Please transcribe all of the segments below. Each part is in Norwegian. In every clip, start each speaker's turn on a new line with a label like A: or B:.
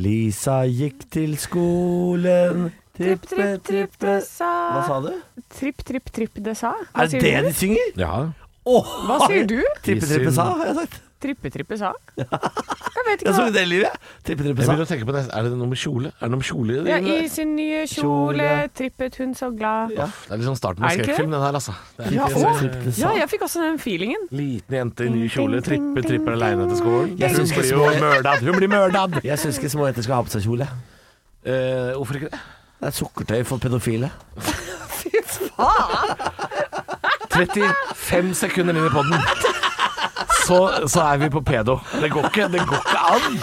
A: Lisa gikk til skolen
B: Tripp, tripp, tripp, det sa
A: Hva sa du?
B: Tripp, tripp, tripp, det sa. Hva
A: Er det
B: sier
A: det
B: du?
A: de synger?
C: Ja.
A: Åh,
B: Hva sier du?
A: Trippe trippe sa, har jeg sagt.
B: Trippe, trippe sa? Jeg vet
A: Jeg
B: ikke
A: så
B: hva
A: det i livet, jeg. Trippe trippe
C: Jeg
A: sa.
C: begynner å tenke på det. Er det noe med kjole? Er det noe med kjole? i det?
B: ja, I sin nye
A: Kjole.
B: kjole trippet hun så glad.
A: Ja.
C: Det er liksom starten
B: Er
C: på
B: det ikke
C: skrekkfilm, den her, altså. Det er
B: Ja,
C: ikke
B: og-
C: så-
A: Trippe, trippe,
B: Ja,
A: sa.
B: jeg fikk også den feelingen.
C: Liten jente i ny
B: Ding,
C: kjole,
B: ding,
C: tripper,
B: ding,
C: tripper
B: ding,
C: aleine til skolen.
B: ding,
C: Hun
A: ding.
C: blir jo mørdad! Hun blir mørdad!
A: Jeg syns ikke små jenter skal ha på seg kjole.
C: Eh, hvorfor ikke det?
A: Det er sukkertøy for pedofile.
C: 35 sekunder inn i poden, så, så er vi på pedo. Det går ikke, det går ikke an!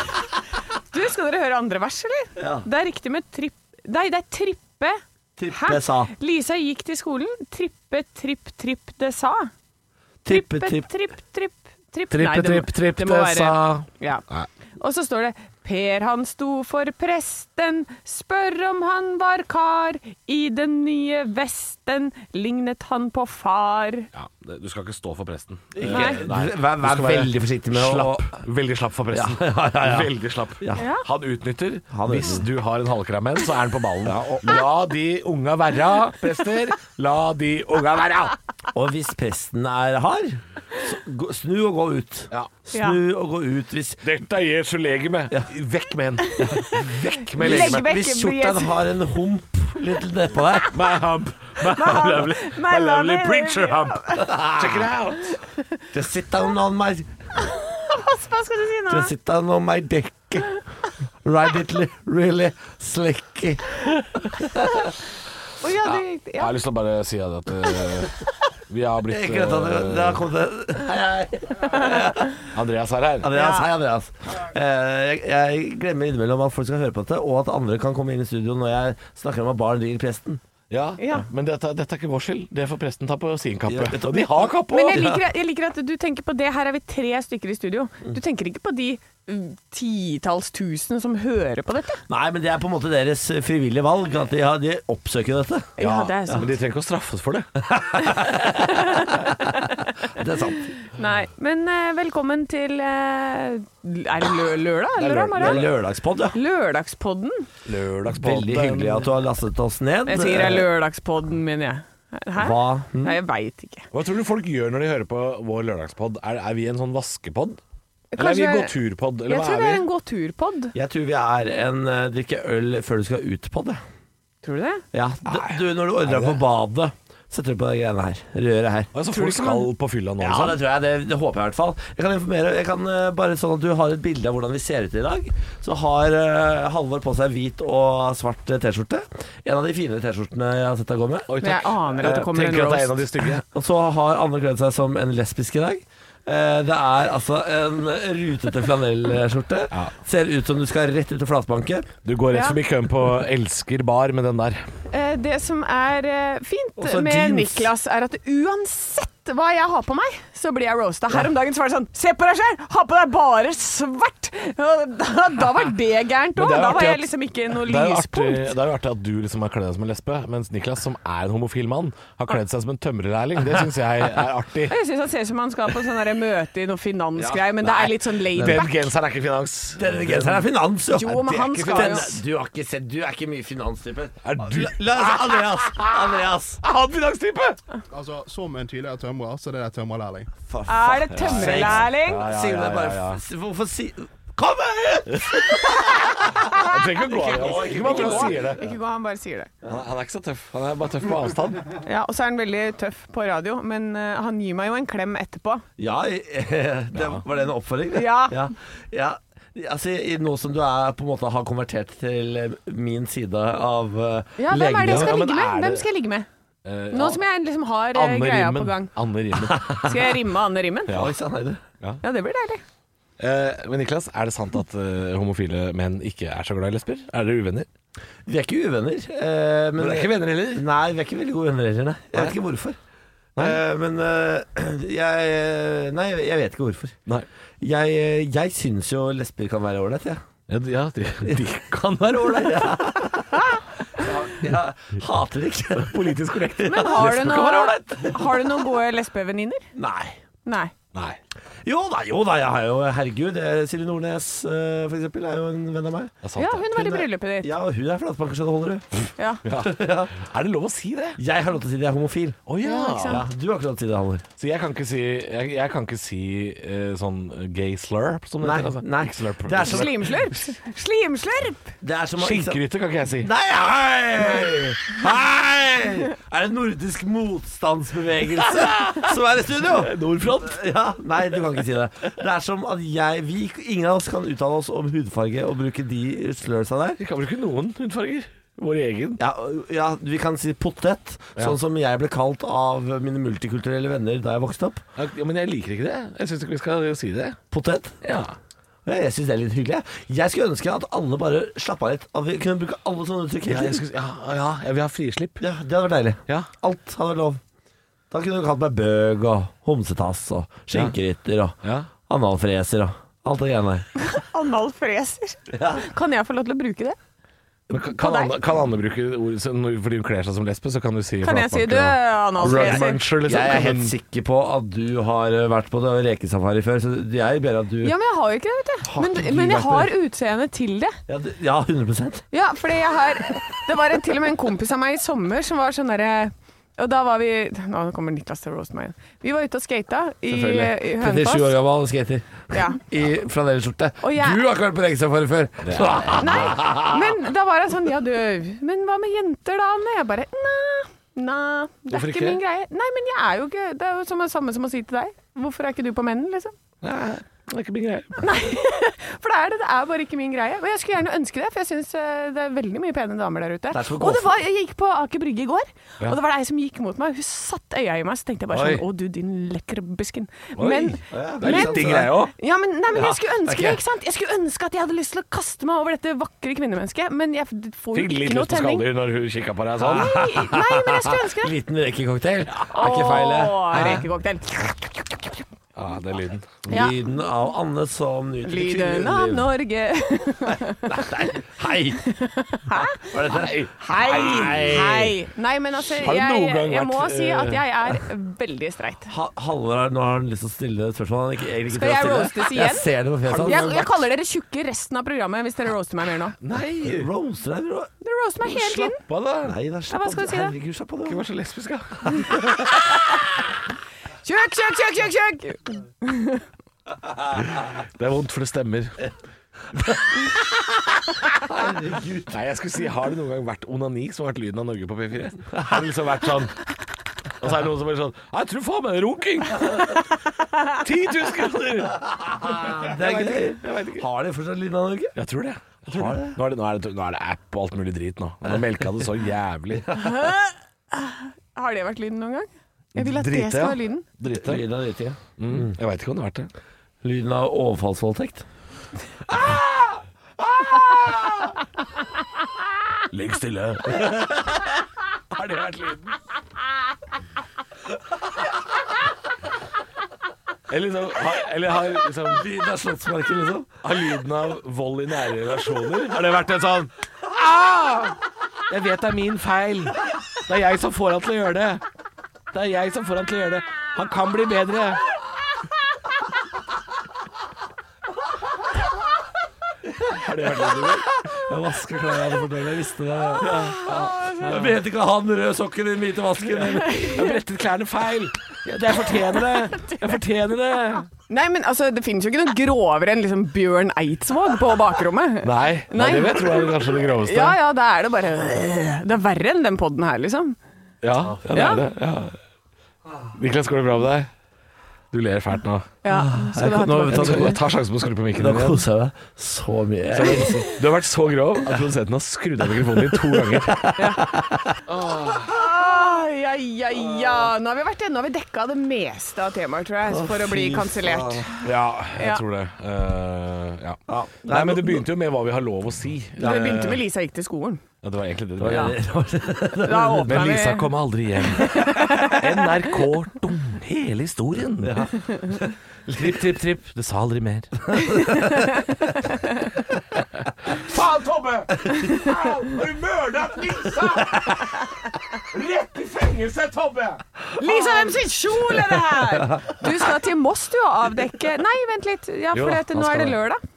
B: Du, skal dere høre andre vers, eller?
A: Ja.
B: Det er riktig med tripp... Nei, det er trippe.
A: Trippe
B: Hæ?
A: sa.
B: Lisa gikk til skolen. Trippe, tripp, tripp, det sa.
A: Trippe
B: tripp,
A: tripp.
B: tripp, tripp. tripp. Nei,
C: Trippe,
B: det må-
C: tripp, tripp,
B: det
C: det,
B: må være-
C: sa
B: Ja.
C: Nei.
B: Og så står det Per han sto for presten, spør om han var kar. I den nye vesten lignet han på far.
C: ja, det- Du skal ikke stå for presten.
B: Nei.
A: Vær, vær veldig forsiktig med å
C: Slapp. Veldig slapp for presten. Veldig slapp.
B: Ja.
C: Han utnytter.
A: Han
C: Hvis du har en halvkram en, så er han på ballen. La de unga være, prester. La de unga være!
A: Og hvis presten er hard, så gå- snu og gå ut.
C: Ja.
A: Snu og gå ut hvis
C: Dette er Jesu legeme. Vekk med den. Vekk med
B: Legg
C: legemet.
B: vekk
A: Hvis
B: Jesu.
A: skjorten har en hump litt nedpå der
C: My hump. My,
B: hump.
C: lovely,
B: My
C: my lovely
B: lovely
C: preacher hump. Check it out.
A: Just sit down on my
B: Hva skal du si nå?
A: Just sit down on my dick Ride it li- really slicky
B: Å, ja, du,
C: Jeg
B: ja.
C: har lyst til å bare si at eh, vi har blitt
A: Ikke dette, det, det har
C: eh,
A: kommet en- Hei, hei
C: Andreas er her.
A: Andreas, hei Andreas Eh, jeg, jeg glemmer innimellom at folk skal høre på dette Og at andre kan komme inn i studio når jeg snakker om at barn driver presten
C: Ja,
B: Ja.
C: Men dette, dette er ikke vår skyld. Det får presten ta på sin kappe.
A: Ja, dette-
C: Og de har kappe
B: Men jeg
C: òg!
B: liker, jeg liker at du tenker på det. Her er vi tre stykker i studio. Du tenker ikke på de mm, titalls tusen som hører på dette.
A: Nei, men det er på en måte deres frivillige valg At de, har, de oppsøker dette
B: Ja, det er sant.
C: men de trenger ikke å straffes for det.
A: Det er sant
B: Nei, men eh, velkommen til eh, Er det lø lørdag? Lørdag
C: Det er lø-
A: Det er
B: morgen?
A: lørdagspodd, ja
B: Lørdagspodden?
A: Veldig hyggelig at du har lastet oss ned
B: Jeg sier det er lørdagspodden, mener jeg. Hæ?
A: Hva? Hm?
B: Nei, jeg veit ikke.
C: Hva tror du folk gjør når de hører på vår lørdagspod? Er, er vi en sånn vaskepod? Eller er vi
B: Kanskje-
C: gåturpod? Eller
B: Jeg
C: hva
B: tror det er
C: er
B: en
C: vi?
B: gåturpod.
A: Jeg tror vi er en eh, drikke øl før du skal ut på det.
B: Tror du det?
A: Ja, d- du, når du ordrer deg på badet, setter du på de greiene her. Røret her.
C: Altså,
B: Tror du
C: folk
B: ikke man-
C: skal på fylla nå,
A: Ja,
C: altså?
A: det tror jeg. Det, det håper jeg i hvert fall. Jeg kan informere jeg kan, eh, Bare sånn at du har et bilde av hvordan vi ser ut i dag. Så har eh, Halvor på seg hvit og svart eh, T-skjorte. En av de finere T-skjortene jeg har sett deg gå med.
C: Oi,
B: Men jeg aner at det
C: Eh,
B: kommer en
C: Tenker at det er en
B: roast.
C: av de stygge.
A: Og så har Anne kledd seg som en lesbisk i dag. Eh, Det er altså en rutete flanellskjorte.
C: Ja.
A: Ser ut som du skal rett ut til flatbanken.
C: Du går rett
B: Ja.
C: forbi køen på Elsker bar med den der.
B: Eh, Det som er eh, fint
A: Også
B: med
A: jeans.
B: Niklas, er at uansett hva jeg har på meg, så blir jeg roasta. Her om dagen så var det sånn Se på deg selv! Ha på deg bare svart! Og Da, da var det gærent
C: Men
B: òg. Da
C: det er jo
B: var
C: artig at-
B: jeg liksom ikke noe
C: Det er jo artig,
B: lyspunkt.
C: det er jo artig at du liksom har kledd deg som en lesbe, mens Niklas, som er en homofil mann, har kledd seg som en tømrerlærling. Det syns jeg er artig.
B: Jeg syns han ser ut som han skal på sånn der møte i noe finansgreier, men det
C: Nei,
B: er litt sånn laid
C: Den
B: back.
C: genseren er ikke finans.
A: Denne genseren er finans, jo.
B: Jo, men han
C: ikke
B: skal jo
A: Den- du har ikke sett Du er ikke mye finanstype.
C: Er du
A: La- La oss Andreas! Andreas!
C: Er han finanstype?!
D: Altså, Som en tidligere tømrer, så det er tømrerlærling.
A: For
B: Er det
A: fuck's
B: tømrerlærling?
A: sake.
C: ja,
A: Signe,
C: ja,
A: bare
C: ja, ja.
A: f- Hvorfor si Kom ut!
C: Han trenger ikke å gå av. altså. Ikke bare for
B: Ikke
C: han sier det.
B: gå, ikke gå, han bare sier det.
C: Han han er ikke så tøff. Han er bare tøff på avstand.
B: Ja, Og så er han veldig tøff på radio, men eh, han gir meg jo en klem etterpå.
A: Ja, eh, det, var det en oppfordring? det?
B: Ja.
A: ja. ja. Altså, i- Nå som du er, på en måte har konvertert til eh, min side av uh,
B: Ja, Hvem er det jeg
C: Ja,
B: skal
C: men
B: ligge med?
C: er det-
B: Hvem skal jeg ligge med?
C: Eh,
B: Nå som jeg liksom har eh,
C: Anne
B: greia på
C: Rimmen.
B: gang.
C: Anne Rimmen.
B: Skal jeg rimme Anne Rimmen? Ja,
A: Oi sann, er det
B: det blir deilig.
C: Eh, Men Niklas, er det sant at eh, homofile menn ikke er så glad i lesber? Er dere uvenner?
A: Vi er ikke uvenner. eh, men,
C: Men dere er ikke venner heller?
A: Nei, vi er ikke veldig gode venner heller, nei. Jeg vet ikke hvorfor. Eh, men eh, jeg Nei, jeg vet ikke hvorfor.
C: Nei.
A: Jeg, eh, jeg syns jo lesber kan være ålreit, jeg.
C: Ja, de- ja, de, de
A: Kan være ålreit, ja. Jeg hater det ikke.
C: Politisk korrekt.
B: Men har du,
A: lesber kan være
B: noe, har du noen gode lesbevenninner?
A: Nei.
B: Nei.
C: Nei.
A: Jo da, jo da, jeg har jo Herregud, eh, Silje Nordnes eh, for eksempel er jo en venn av meg.
C: Det er sant,
B: Ja,
C: det.
B: hun var i
A: Hun er-
B: bryllupet ditt.
A: Ja, og hun er flatbankerskjønn, holder du?
B: Ja.
C: Er det lov å si det?
A: Jeg har lov til å si at jeg er homofil.
C: Å ja.
B: Ja, ikke sant?
A: Ja, du har ikke lov til å si det, Halvor.
C: Så jeg kan ikke si, jeg, jeg kan ikke si eh, sånn gay slurp, som det
A: Nei,
C: heter. altså.
A: nei.
C: Ikke Slurp.
A: Det er så-
B: Slimslurp! Slimslurp!
A: Det er som å- ikke sant?
C: Skinkerytter kan ikke jeg si.
A: Nei, hei! Hei! Er det nordisk motstandsbevegelse som er i studio? Nordfront? Ja, nei, du kan ikke si det. Det er som at jeg vi, Ingen av oss kan uttale oss om hudfarge og bruke de slørsa der.
C: Vi kan bruke noen hudfarger. Vår egen.
A: Ja, ja, vi kan si potet, sånn som jeg ble kalt av mine multikulturelle venner da jeg vokste opp.
C: Ja, men jeg liker ikke det. Jeg syns ikke vi skal si det.
A: Potet.
C: Ja.
A: Ja, Jeg syns det er litt hyggelig. jeg. Jeg skulle ønske at alle bare slappa litt. At vi kunne bruke alle sånne uttrykk.
C: Ja,
A: hele
C: jeg
A: tiden.
C: skulle, ja, ja, jeg vil ha frislipp.
A: Ja, det hadde vært deilig.
C: Ja.
A: Alt hadde vært lov. Da kunne du kalt meg bøg og homsetass og skjenkerytter og
C: Ja.
A: analfreser og alt det greiene der.
B: Analfreser. Kan jeg få lov til å bruke det?
C: Men kan, kan,
B: deg?
C: Anne, kan Anne bruke ordet så når- fordi hun kler seg som lesbe, så kan du si
B: Kan jeg si
C: flatbanker
B: du,
C: og-
B: Altså, analfreser?
C: Rugmuncher, liksom.
A: Jeg er
C: Kan
A: helt
C: hun-
A: sikker på at du har eh, vært på det rekesafari før, så jeg ber at du
B: Ja, men jeg har jo ikke det, vet du.
A: Har ikke du
B: Men, men jeg
A: vært på
B: har utseendet til det.
A: Ja, du- ja 100
B: Ja, fordi jeg har Det var en, til og med en kompis av meg i sommer som var sånn derre og da var vi Nå kommer Niklas til å roaste meg igjen. Vi var ute og skata i, i
A: Selvfølgelig. 37 år
B: Hønefoss.
A: gammel skater
B: Ja.
A: i flanellskjorte.
B: Og jeg-
A: Du har ikke vært på rekesafari før! Så-
B: Nei, men da var jeg sånn Ja, du, men hva med jenter da, Anne? Jeg bare Nei, nei, det er
C: Hvorfor ikke?
B: ikke min greie. Nei, men jeg er jo ikke Det er jo som det samme som å si til deg. Hvorfor er ikke du på menn, liksom?
C: Nei, det er ikke min greie.
B: For det er det. Det er bare ikke min greie. Og jeg skulle gjerne ønske det, for jeg syns det er veldig mye pene damer der ute.
A: Det er så
B: og det
A: gåfent.
B: var, jeg gikk på Aker Brygge i går, og det var ei som gikk mot meg. Hun satt øya i meg, så tenkte jeg bare
C: Oi.
B: sånn Å, du din lekre busken.
C: Oi.
B: Men
A: det er litt sånn,
B: Men-
A: din greie
C: òg.
B: ja, men, nei, men
C: Ja,
B: jeg skulle
C: det er
B: ønske
C: ikke-
B: det, ikke sant? Jeg skulle ønske at jeg hadde lyst til å kaste meg over dette vakre kvinnemennesket, men jeg f- får jo
C: Fikk litt
B: ikke noe
C: lyst på
B: tenning.
C: skalldyr når hun kikka på deg sånn.
B: Nei, nei, men jeg skulle ønske det.
A: Liten rekecocktail. Er ikke feil,
B: Åh,
A: det.
B: rekecocktail.
C: Ja, det er lyden.
B: Ja.
A: Lyden av Anne som nyter
B: Lyden
A: kvinneliv.
B: av Norge.
A: Hei! Hva er dette?
B: Hei,
A: Hei.
B: hei. Nei, men altså,
C: Har du
B: jeg,
C: noen gang
B: jeg må
C: vært,
B: si
C: eh,
B: at jeg er veldig streit.
A: Ha- Halvor, har- nå har han lyst til å stille et spørsmål han ikke, egentlig ikke
B: Skal
A: tør å
B: jeg
A: stille.
B: roastes
A: Jeg
B: igjen?
A: ser det på fjeset
B: Jeg, jeg
A: hans.
B: kaller dere tjukke resten av programmet hvis dere roaster meg mer nå.
C: Nei!
A: Roaster deg, bro.
B: Dere roaster meg hele tiden.
C: Slapp av, da.
A: Nei, da, slapp
B: hva
A: av.
B: skal du si da?
A: Herregud, slapp av.
C: Ikke
A: du.
C: vær så lesbisk, da.
B: Tjukk, tjukk, tjukk, tjukk, tjukk.
C: Det er vondt, for det stemmer.
A: Herregud.
C: Nei, jeg skulle si, Har det noen gang vært onani som har vært lyden av Norge på P4? Har det liksom vært sånn Og så er det noen som bare sånn Jeg tror faen meg det er runking! 10 000 kroner!
A: Det er gøy.
C: Jeg vet ikke.
A: Har de fortsatt lyden av Norge?
C: Jeg tror det. Jeg tror
A: Har
C: det.
A: det?
C: Nå, er det, nå, er det, nå er det app og alt mulig drit nå. Nå melka det så jævlig.
B: Har det vært lyden noen gang? Jeg vil at
C: Drite,
B: det skal
C: ja.
B: være lyden.
C: Drite.
A: Lyden av driting.
C: Mm. Jeg veit ikke om det har vært det.
A: Lyden av overfallsvoldtekt.
B: Ah!
C: Ligg stille. Har det vært lyden? Eller, liksom, har, eller har, liksom, lyden av slottsmarken, liksom? Har lyden av vold i nære relasjoner? Har det vært en sånn «Ah! Jeg vet det er min feil. Det er jeg som får han til å gjøre det. Det er jeg som får han til å gjøre det. Han kan bli bedre. Har det vært lyden?
A: Jeg vasker klær jeg hadde fortalt. Jeg visste det.
B: Ah,
A: Ja. Jeg vet ikke han røde sokken i den hvite vasken.
C: Jeg brettet klærne feil. Jeg fortjener det. Jeg fortjener det.
B: Nei, men altså, det finnes jo ikke noe grovere enn liksom Bjørn Eidsvåg på bakrommet.
C: Nei,
B: Nei.
C: det vil jeg tro er kanskje det groveste.
B: Ja, ja, da er det bare Det er verre enn den podden her, liksom.
C: ja, ja, det
B: Ja.
C: er det. Ja. Niklas, går det bra med deg? Du ler fælt nå.
B: Ja, skal du ha
A: Nå-
B: tilbake?
C: Jeg tar, jeg tar sjansen på å skru på
A: Da
C: mikrofonen igjen.
A: koser jeg meg så mye.
C: Du har vært så grov at produsenten har skrudd av mikrofonen din to ganger.
B: Ah, ja, ja, ja. Nå har vi vært Nå har vi dekka det meste av temaer, tror jeg, for å bli
A: fy
B: kansellert.
C: Ja, jeg
B: Ja.
C: tror det. Eh, ja.
A: Ja.
C: Nei, men det begynte jo med hva vi har lov å si. Eh,
B: Det begynte med Lisa gikk til skolen.
C: Ja, det var egentlig det det
A: Ja.
C: begynte med.
B: Da åpna
C: Men
B: vi
C: Lisa kom aldri hjem. NRK dum hele historien. Tripp, tripp, tripp. Det sa aldri mer. Faen, Tobbe! Au, Har du mørda Lisa? Rett i fengelse, Tobbe!
B: Lisa, hvem sin kjole er det her? Du skal til Moss du og avdekke Nei, vent litt. Ja,
C: Jo
B: for
C: da,
B: at
C: han
B: nå
C: skal
B: er det
C: det.
B: lørdag.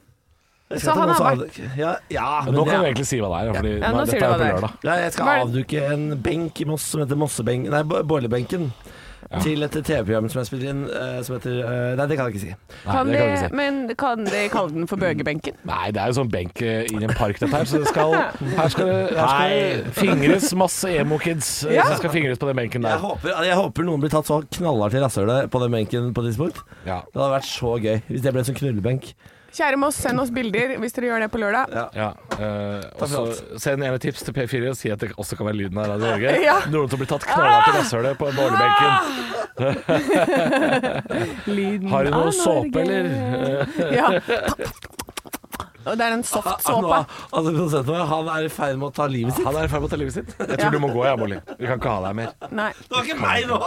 A: Jeg
B: Så
A: skal
B: han
A: til
B: har
A: Moss og avduke. Ja, ja, men
C: Nå kan du
A: jeg,
C: egentlig si hva det er, ja, fordi
B: Ja, nå
C: nå-
B: sier
C: dette
B: du hva
C: er jo på
B: det er.
C: lørdag.
A: ja, jeg skal
B: Hva er-
A: avduke en benk i Moss som heter Mossebenken Nei, Bo- Borlebenken. Til et TV-program som jeg spiller inn eh, som heter eh, Nei, det kan jeg ikke si.
C: Nei,
B: Kan
C: det kan du
B: de,
C: ikke si.
B: men kan de kalle den for bøgebenken?
C: Nei, det er jo sånn benk eh, i en park, dette her. Så det skal, her skal det her skal det fingres masse emo-kids eh,
B: Ja.
C: som skal fingres på den
A: Jeg
C: benken der.
A: håper, jeg håper noen blir tatt så knallhardt i rasshølet på den benken på et tidspunkt.
C: Ja.
A: Det hadde vært så gøy hvis det ble en sånn knullebenk.
B: Kjære Moss, send oss bilder hvis dere gjør det på lørdag.
C: Ja, eh, og så
A: for
C: Send gjerne tips til P4 og si at det også kan være lyden av Radio Norge.
B: Ja.
C: Noen som blir tatt knallhardt i rasshølet på borgerbenken.
B: Lyden
C: Har du
B: av
C: noe
B: Mm. Ah, Norge.
C: såpe, eller?
B: Ja. Og det er en soft såpe.
A: Altså, produsenten vår, han er i ferd med å ta livet sitt.
C: Han er i ferd med å ta livet sitt. Jeg tror
B: Ja.
C: du må gå, jeg, Molly. Vi kan ikke ha deg mer.
B: Nei.
A: Det var ikke meg nå!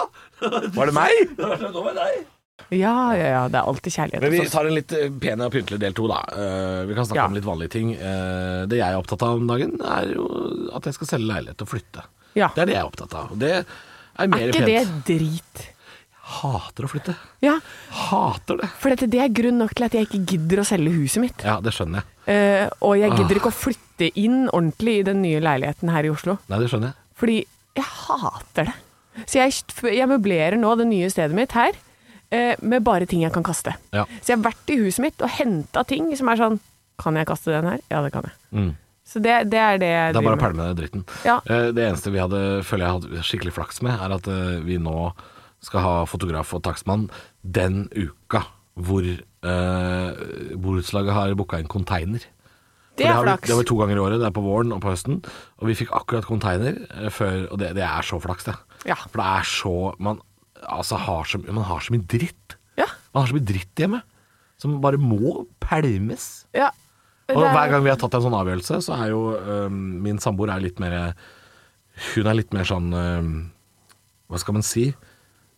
C: Var det meg?
A: Nå var det deg.
B: Ja, ja, ja. Det er alltid
C: Men
B: kjærlighet.
C: vi
B: hos oss.
C: tar en litt eh, pen og pyntelig del to, da. Eh, vi kan snakke
B: Ja.
C: om litt vanlige ting. Eh, det jeg er opptatt av om dagen, er jo at jeg skal selge leilighet og flytte.
B: Ja.
C: Det er det jeg er opptatt av. Og det er mer
B: Er ikke
C: pent.
B: det drit?
C: Hater å flytte.
B: Ja,
C: Hater det.
B: for dette, det er grunn nok til at jeg ikke gidder å selge huset mitt.
C: Ja, det skjønner jeg.
B: Eh, og
C: Ah.
B: jeg gidder ikke å flytte inn ordentlig i den nye leiligheten her i Oslo.
C: Nei, det skjønner jeg.
B: Fordi jeg hater det. Så jeg, jeg møblerer nå det nye stedet mitt her eh, med bare ting jeg kan kaste.
C: Ja.
B: Så jeg har vært i huset mitt og henta ting som er sånn Kan jeg kaste den her? Ja, det kan jeg. Så det, det er det jeg
C: Mm. Det er
B: driver
C: bare å
B: med.
C: pælme med den dritten.
B: Ja.
C: Eh, Det eneste vi hadde, føler jeg hadde skikkelig flaks med, er at eh, vi nå skal ha fotograf og takstmann den uka hvor eh, borettslaget har booka en container.
B: Det
C: For
B: er
C: har vi- Det
B: flaks.
C: har vi to ganger i året. Det er på våren og på høsten. Og vi fikk akkurat container eh, før Og det, det er så flaks, det.
B: Ja.
C: For det er så Man altså har så, man har så mye dritt.
B: Ja.
C: Man har så mye dritt hjemme som bare må pælmes.
B: ja.
C: Og
B: Det er-
C: hver gang vi har tatt en sånn avgjørelse, så er jo øhm, min samboer er litt mer Hun er litt mer sånn øhm, Hva skal man si?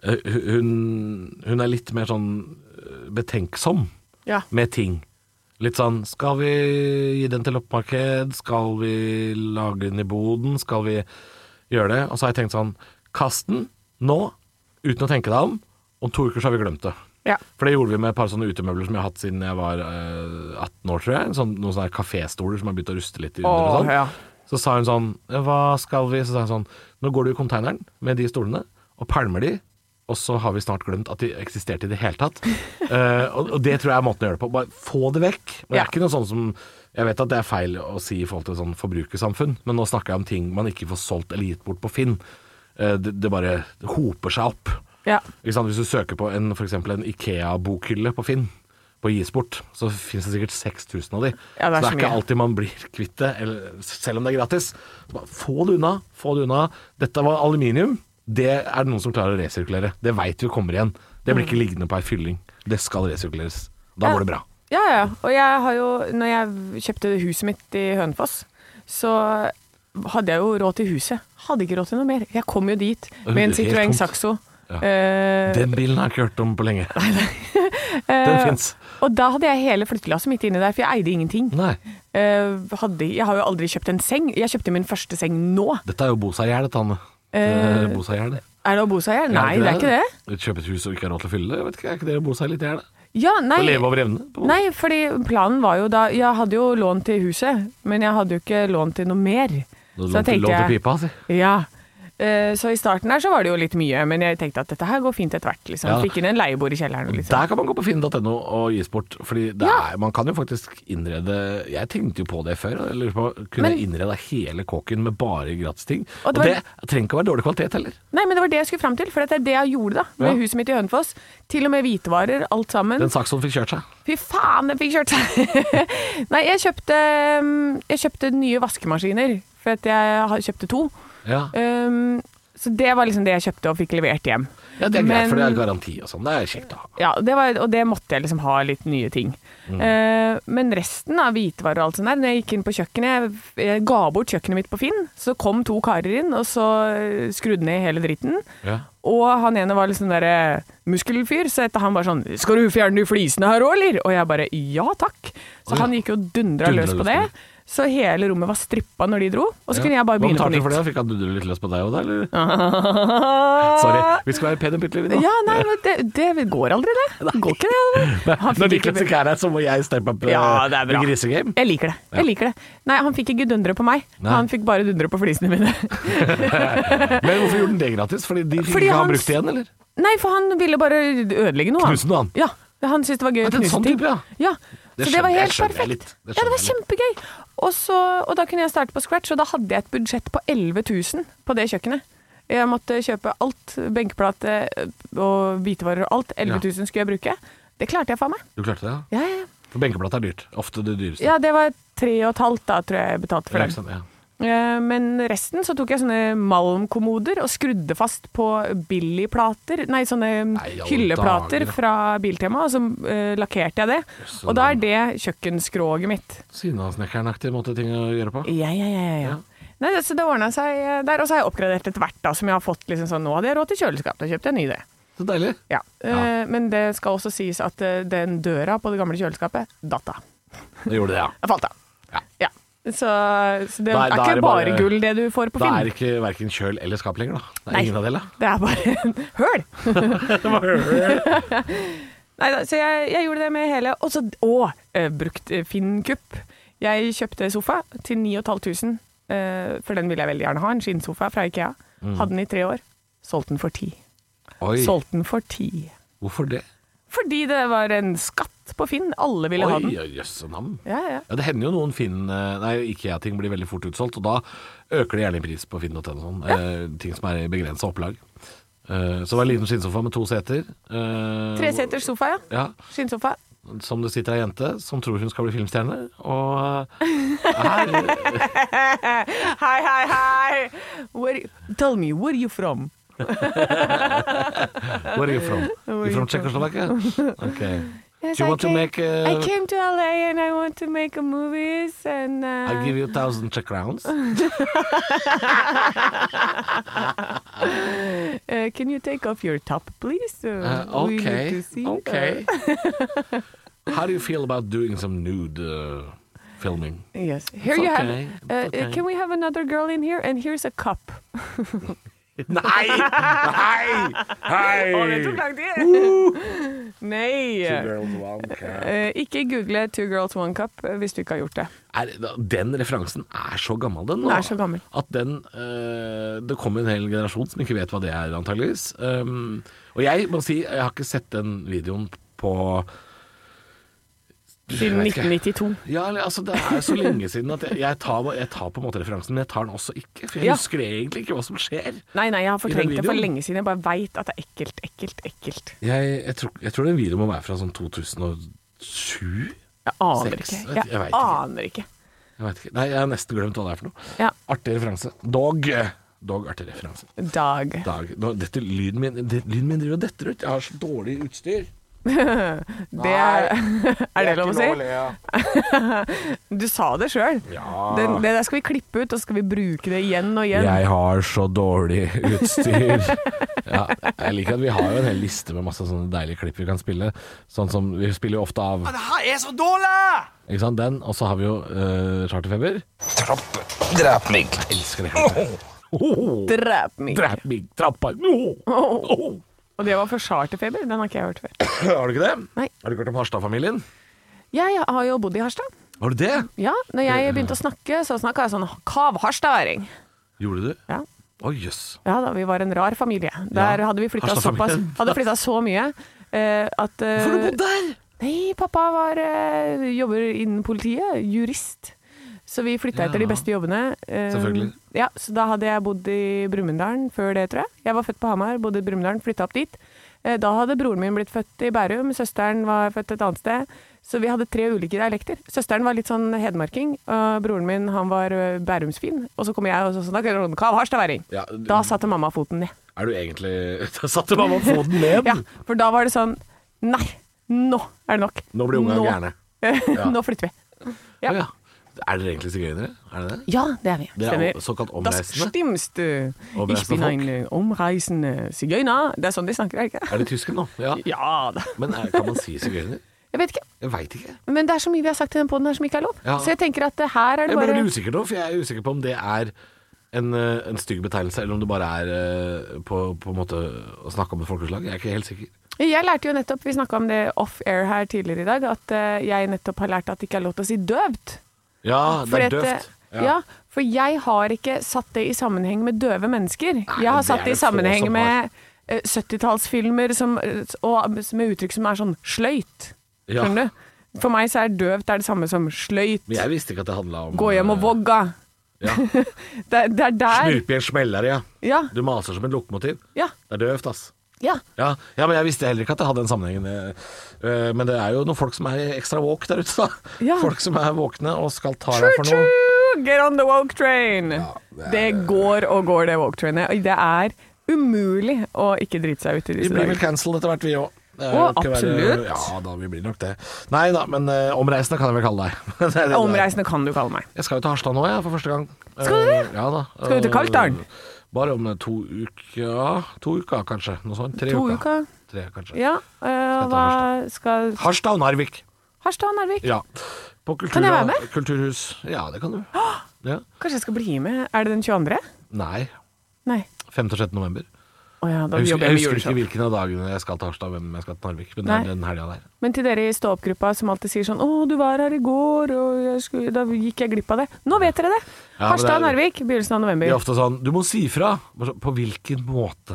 C: Eh, hu- Hun, hun er litt mer sånn øh, betenksom
B: Ja.
C: med ting. Litt sånn Skal vi gi den til loppemarked? Skal vi lage den i boden? Skal vi gjøre det? Og så har jeg tenkt sånn Kast den nå, uten å tenke deg om. Om to uker så har vi glemt det.
B: ja.
C: For det gjorde vi med et par sånne utemøbler som jeg har hatt siden jeg var eh, 18 år, tror jeg. Sånn, noen sånne kaféstoler som har begynt å ruste litt i under og
B: Åh,
C: sånn.
B: ja.
C: Så sa hun sånn Hva skal vi Så sa jeg sånn Nå går du i konteineren med de stolene og pælmer de, og så har vi snart glemt at de eksisterte i det hele tatt. Eh, og, og det tror jeg er måten å gjøre det på. Bare få det vekk. Men det
B: Ja.
C: er ikke noe sånn som Jeg vet at det er feil å si i forhold til sånn forbrukersamfunn, men nå snakker jeg om ting man ikke får solgt eller gitt bort på Finn. Eh, det, det bare hoper seg opp.
B: ja.
C: Ikke sant? Hvis du søker på en, for eksempel en Ikea-bokhylle på Finn, på Gisport, så finnes det sikkert 6000 av de.
B: Ja, det er
C: så det
B: så
C: er
B: mye.
C: ikke alltid man blir kvitt det, eller- selv om det er gratis. Så bare Få det unna, få det unna. Dette var aluminium, det er det noen som klarer å resirkulere. Det veit vi kommer igjen. Det blir ikke liggende på ei fylling. Det skal resirkuleres. Da
B: Mm. Ja.
C: går det bra.
B: Ja, ja. Og jeg har jo Når jeg kjøpte huset mitt i Hønefoss, så hadde jeg jo råd til huset. Hadde ikke råd til noe mer. Jeg kom jo dit med en
C: Helt
B: Citroën
C: tomt.
B: Saxo.
C: Ja.
B: Eh,
C: Den bilen har jeg ikke hørt om på lenge. Den
B: eh,
C: fins.
B: og da hadde jeg hele flyttelasset mitt inni der, for jeg eide ingenting.
C: Nei.
B: Eh, hadde, jeg har jo aldri kjøpt en seng. Jeg kjøpte min første seng nå.
C: Dette er jo Boseier, dette, Anne.
B: Eh,
C: Eh, Boseier, det.
B: Er det å bo seg her? Nei, det er ikke det.
C: Kjøpe et hus og ikke ha råd til å fylle det? Jeg vet ikke, Er ikke det å bo seg litt i hjel?
B: Ja, nei.
C: Å leve over evne? på en måte.
B: Nei, fordi planen var jo da Jeg hadde jo lån til huset, men jeg hadde jo ikke lån til noe mer.
C: Da
B: Så
C: lånte-
B: tenkte
C: lånte
B: jeg-
C: pipa, si.
B: Ja. Eh, Så i starten her så var det jo litt mye, men jeg tenkte at dette her går fint etter hvert. Liksom.
C: Ja.
B: Fikk inn en leiebord i kjelleren. Liksom.
C: Der kan man gå på finn.no og gis bort. Fordi det er, man kan jo faktisk innrede Jeg tenkte jo på det før. Jeg lurer på, kunne
B: Men-
C: jeg innreda hele kåken med bare gratisting?
B: Og
C: Og,
B: det
C: det,
B: var-
C: trenger ikke å være dårlig kvalitet heller.
B: Nei, men det var det jeg skulle fram til, for dette er det jeg gjorde da, med
C: Ja.
B: huset mitt i Hønefoss. Til og med hvitevarer, alt sammen.
C: Den saksoen fikk kjørt seg.
B: Fy faen, den fikk kjørt seg! Nei, jeg kjøpte, um, jeg kjøpte nye vaskemaskiner, for at jeg har- kjøpte to.
C: Ja,
B: Um, så det var liksom det jeg kjøpte og fikk levert hjem.
C: ja Det er greit,
B: men-
C: for det er garanti og sånn. Det er kjekt å ha.
B: Ja, det var, og det måtte jeg liksom ha litt nye ting.
C: Mm.
B: Eh, men resten av hvitevarer og alt sånt der, når jeg gikk inn på kjøkkenet, jeg, jeg ga bort kjøkkenet mitt på Finn, så kom to karer inn, og så eh, skrudde ned hele dritten.
C: Ja.
B: Og han ene var liksom der eh, muskelfyr, så etter han var sånn, skal du fjerne de flisene her også, eller? Og jeg bare, ja takk. Så han gikk jo dundra
C: Dundra
B: løs på
C: løs
B: det.
C: på
B: Så hele rommet var strippa når de dro, og så kunne jeg bare
C: Hva
B: begynne på
C: betalte du
B: nytt.
C: for det? Fikk han dudre litt løs på deg òg, da? Eller? Sorry.
B: Sorry.
C: Vi skal være pene og pyntelig, vi nå.
B: Ja, nei, men det, det går aldri, det. Går ikke det. Han
C: Når
B: fikk ikke
C: Niklas ikke er her, så må jeg steppe opp eh,
B: Ja, det er bra.
C: med grisegame.
B: Jeg liker det. jeg liker det. Nei, han fikk ikke dundre på meg.
C: Nei.
B: Han fikk bare dundre på flisene mine.
C: Men hvorfor gjorde han det gratis? Fordi de fikk
B: Fordi
C: ikke han
B: han-
C: brukt igjen, eller?
B: Nei, for han ville bare ødelegge noe.
C: Knuse noe, han.
B: Ja, han syntes det var gøy å
C: det er en
B: knuse
C: sånn
B: ting.
C: type, ja.
B: ja.
C: Det
B: Så det var
C: skjønner jeg,
B: helt
C: skjønner jeg
B: perfekt.
C: litt. Det
B: ja, det var
C: skjønner
B: kjempegøy. Og, så, og da kunne jeg starte på scratch, og da hadde jeg et budsjett på 11 000 på det kjøkkenet. Jeg måtte kjøpe alt, benkeplate og hvitevarer og alt. 11 000 skulle jeg bruke. Det klarte jeg faen meg.
C: Du klarte det, ja?
B: Ja, ja.
C: For benkeplate er dyrt. Ofte det dyreste.
B: ja, det var tre og et halvt da, tror jeg jeg betalte for
C: Ja,
B: den.
C: ikke sant, ja.
B: Eh, Men resten så tok jeg sånne malmkommoder og skrudde fast på billigplater, nei sånne mm,
C: Nei, i alle
B: hylleplater
C: dager.
B: fra Biltema, og så eh, lakkerte jeg det.
C: Jøsse
B: Og da er det kjøkkenskroget mitt.
C: Sinnasnekkerenaktig måte ting å gjøre på.
B: Ja, ja, ja, ja, ja. Nei, det- så det ordna seg eh, der, og så har jeg oppgradert etter hvert, da, som jeg har fått liksom sånn Nå hadde jeg råd til kjøleskap, da kjøpte jeg en ny det.
C: Så deilig.
B: Ja. Eh, Men det skal også sies at eh, den døra på det gamle kjøleskapet datt av.
C: Da gjorde du det, ja.
B: Jeg falt av.
C: Ja.
B: Så, så det
C: Da er-
B: er
C: da er
B: ikke
C: det
B: bare,
C: bare-
B: gull, det du får på
C: Da
B: Finn.
C: er det ikke verken kjøl eller skap lenger, da. Det er
B: Nei.
C: ingen av delene.
B: Det er bare en høl. Nei da, så jeg, jeg gjorde det med hele. Og så å, eh, brukt eh, Finnkupp. Jeg kjøpte sofa til 9500, eh, for den ville jeg veldig gjerne ha. En skinnsofa fra Ikea. Hadde den i tre år. Solgte den for ti.
C: Mm. Oi,
B: Solgte den for ti.
C: hvorfor det?
B: Fordi det var en skatt på Finn. Alle ville
C: Oi,
B: ha den.
C: ja, jøsse nam.
B: Ja, ja.
C: Ja, det hender jo noen Finn eh, Nei, IKEA-ting blir veldig fort utsolgt, og da øker det gjerne i pris på Finn.no. Sånn. Eh, ting som er i begrensa opplag. Eh, så det var en liten skinnsofa med to seter. eh,
B: Treseters sofa, ja.
C: Ja,
B: Skinnsofa.
C: som det sitter ei jente som tror hun skal bli filmstjerne, og eh, her,
B: Eh, Hei, hei, hei! Where, tell me, where you from?
C: Where are you from? You from Czechoslovakia? Okay.
B: Yes,
C: Do you
B: I
C: want to
B: came-
C: make uh,
B: I came to LA and I want to make a movies and uh,
C: I'll give you a thousand Czech crowns.
B: uh, can you take off your top please?
C: Uh,
B: Uh, we need to
C: okay.
B: see,
C: Okay. How do you feel about doing some nude uh, filming?
B: uh, yes. Here
C: It's
B: you
C: okay,
B: have. Uh,
C: it's
B: uh,
C: okay.
B: Can we have another girl in here? And here's a cup.
C: Nei! Nei!
B: Å, det tok lang tid! Nei. Eh, ikke google 'Two girls, one cup' eh, hvis du ikke har gjort det.
C: Er, den referansen er så gammel, den. nå.
B: Den er så gammel.
C: At den eh, Det kommer en hel generasjon som ikke vet hva det er, antageligvis. Um, og jeg må si, jeg har ikke sett den videoen på Jeg
B: Siden
C: vet ikke.
B: 1992.
C: Ja, eller, altså Det er så lenge siden at jeg, jeg, tar, jeg tar på en måte referansen, men jeg tar den også ikke. For jeg
B: Ja.
C: husker egentlig ikke hva som skjer.
B: Nei, nei, jeg har fortrengt det for
C: videoen?
B: lenge siden. Jeg bare veit at det er ekkelt, ekkelt, ekkelt.
C: Jeg, jeg, tror, jeg tror den videoen må være fra sånn 2007.
B: Jeg aner
C: Sex? Jeg
B: ikke.
C: vet- jeg
B: Jeg
C: vet ikke.
B: aner ikke.
C: Jeg vet ikke. Nei, jeg har nesten glemt hva det er for noe.
B: Ja.
C: Artig referanse. Dog. Dog artig referanse.
B: Dag.
C: Dag. Nå, dette, lyden, min, det, lyden min driver og detter ut. Jeg har så dårlig utstyr.
B: Det er, er det lov å si? Du sa det sjøl.
C: Ja.
B: Det, det der skal vi klippe ut, og så skal vi bruke det igjen og igjen.
C: Jeg har så dårlig utstyr. Ja, jeg liker at vi har jo en hel liste med masse sånne deilige klipp vi kan spille. Sånn som Vi spiller jo ofte av
A: Det her er så dårlig!
C: ikke sant? den, og så har vi jo eh, Charterfeber.
E: Trapp, drep meg.
C: Jeg elsker det klippet. Oh,
B: Drep meg.
C: drep meg, trappa no. oh.
B: Og det var for charterfeber. Den har ikke jeg hørt før.
C: Har du ikke det?
B: Nei.
C: Har du ikke hørt om Harstad-familien?
B: Jeg har jo bodd i Harstad.
C: Har du det?
B: Ja, når jeg begynte å snakke, så snakka jeg sånn kav-harstadværing.
C: Gjorde du?
B: Ja.
C: Å jøss.
B: ja da, vi var en rar familie. Der
C: Ja.
B: hadde vi flytta såpass
C: Harstad-familien.
B: Hadde flytta så mye eh, at eh,
C: Hvorfor har du bodd der?
B: Nei, pappa var, eh, jobber innen politiet, jurist. Så vi flytta etter de beste jobbene. Eh,
C: Selvfølgelig.
B: Ja, så da hadde jeg bodd i Brumunddalen før det, tror jeg. Jeg var født på Hamar, bodde i Brumunddalen, flytta opp dit. Eh, da hadde broren min blitt født i Bærum, søsteren var født et annet sted. Så vi hadde tre ulike dialekter. Søsteren var litt sånn hedmarking, og broren min han var eh, bærumsfin. Og så kom jeg og så sånn, da kan jeg rådne kav harstadværing.
C: Ja, du-
B: Da satte mamma foten ned.
C: Er du egentlig Da satte mamma foten ned.
B: Ja, for da var det sånn, nei, nå er det nok.
C: Nå blir unga
B: Nå-
C: gærne.
B: Nå flytter vi. Ja.
C: Å, ja. Er dere egentlig sigøynere? Er det det?
B: Ja, det er vi.
C: Dere er al- såkalt
B: Das
C: omreisende?
B: stimmst du.
C: Omreisende
B: Ich bin
C: folk.
B: ein eh, omreisende sigøyner. Det er sånn de snakker, er det ikke?
C: Er de tyske nå? Ja.
B: Ja da.
C: Men er, kan man si sigøyner?
B: Jeg vet ikke.
C: Jeg veit ikke.
B: Men det er så mye vi har sagt i den poden her som ikke er lov.
C: Ja.
B: Så jeg tenker at eh, her er det
C: Jeg ble
B: bare
C: litt usikker nå, for jeg er usikker på om det er en, eh, en stygg betegnelse, eller om det bare er eh, på, på en måte å snakke om et folkeslag. Jeg er ikke helt sikker.
B: Jeg lærte jo nettopp, vi snakka om det off-air her tidligere i dag, at eh, jeg nettopp har lært at det ikke er lov til å si døvt.
C: Ja, det
B: Fordi
C: er
B: at,
C: døvt.
B: eh, Ja. for jeg har ikke satt det i sammenheng med døve mennesker. Jeg har
C: det
B: satt
C: er
B: det i
C: det få
B: sammenheng
C: som har.
B: med eh, 70-tallsfilmer som, eh, og med uttrykk som er sånn sløyt.
C: Ja.
B: Skjønner du? For meg så er døvt er det samme som sløyt.
C: Men jeg visste ikke at det handla om eh,
B: Gå hjem og vogga.
C: Ja.
B: Det, er- det er der.
C: Snurpe i en smeller, ja.
B: Ja,
C: Du maser som en lokomotiv.
B: ja,
C: Det er døvt, ass.
B: ja.
C: Ja, ja, men jeg visste heller ikke at det hadde den sammenhengen. eh, eh, Men det er jo noen folk som er ekstra woke der ute, da.
B: Ja.
C: Folk som er våkne og skal ta deg for noe.
B: Choo-choo! Get on the woke train! det, går og går, det woke trainet. Og Det er umulig å ikke drite seg ut i
C: Vi
B: disse
C: blir vel
B: dager.
C: cancelled etter hvert, vi òg.
B: Å, absolutt.
C: ja da, vi blir nok det. Nei da, men eh, omreisende kan jeg vel kalle deg. Det er det det er.
B: Omreisende kan du kalle meg.
C: Jeg skal jo til Harstad nå, jeg, for første gang.
B: Skal du det?
C: Eh, Ja da.
B: Skal du til Kaltdalen?
C: Eh, Bare om to uker ja, To uker, kanskje. Noe sånt. Tre
B: To uker.
C: uker. Tre, kanskje.
B: Ja, øh,
C: Skal jeg ta
B: hva skal
C: Harstad og Narvik.
B: Harstad og Narvik?
C: Ja. På kultur,
B: Kan jeg være med?
C: Kulturhus. Ja, det kan du. Ja.
B: Kanskje jeg skal bli med? Er det den 22.?
C: Nei.
B: Nei.
C: 5. og 6. november.
B: Å ja, da
C: Jeg
B: jobber jeg
C: husker, jeg
B: med
C: husker ikke
B: juleshow.
C: hvilken av dagene jeg skal til Harstad og hvem jeg skal til Narvik, men det
B: Nei.
C: er den helga der.
B: Men til dere i stå-opp-gruppa som alltid sier sånn 'Å, du var her i går, og jeg skulle, da gikk jeg glipp av det'. Nå vet dere det!
C: Ja, men
B: Harstad og
C: det er-
B: Narvik, begynnelsen av
C: Det er
B: november.
C: ofte sånn Du må si fra! Bare sånn, På hvilken måte?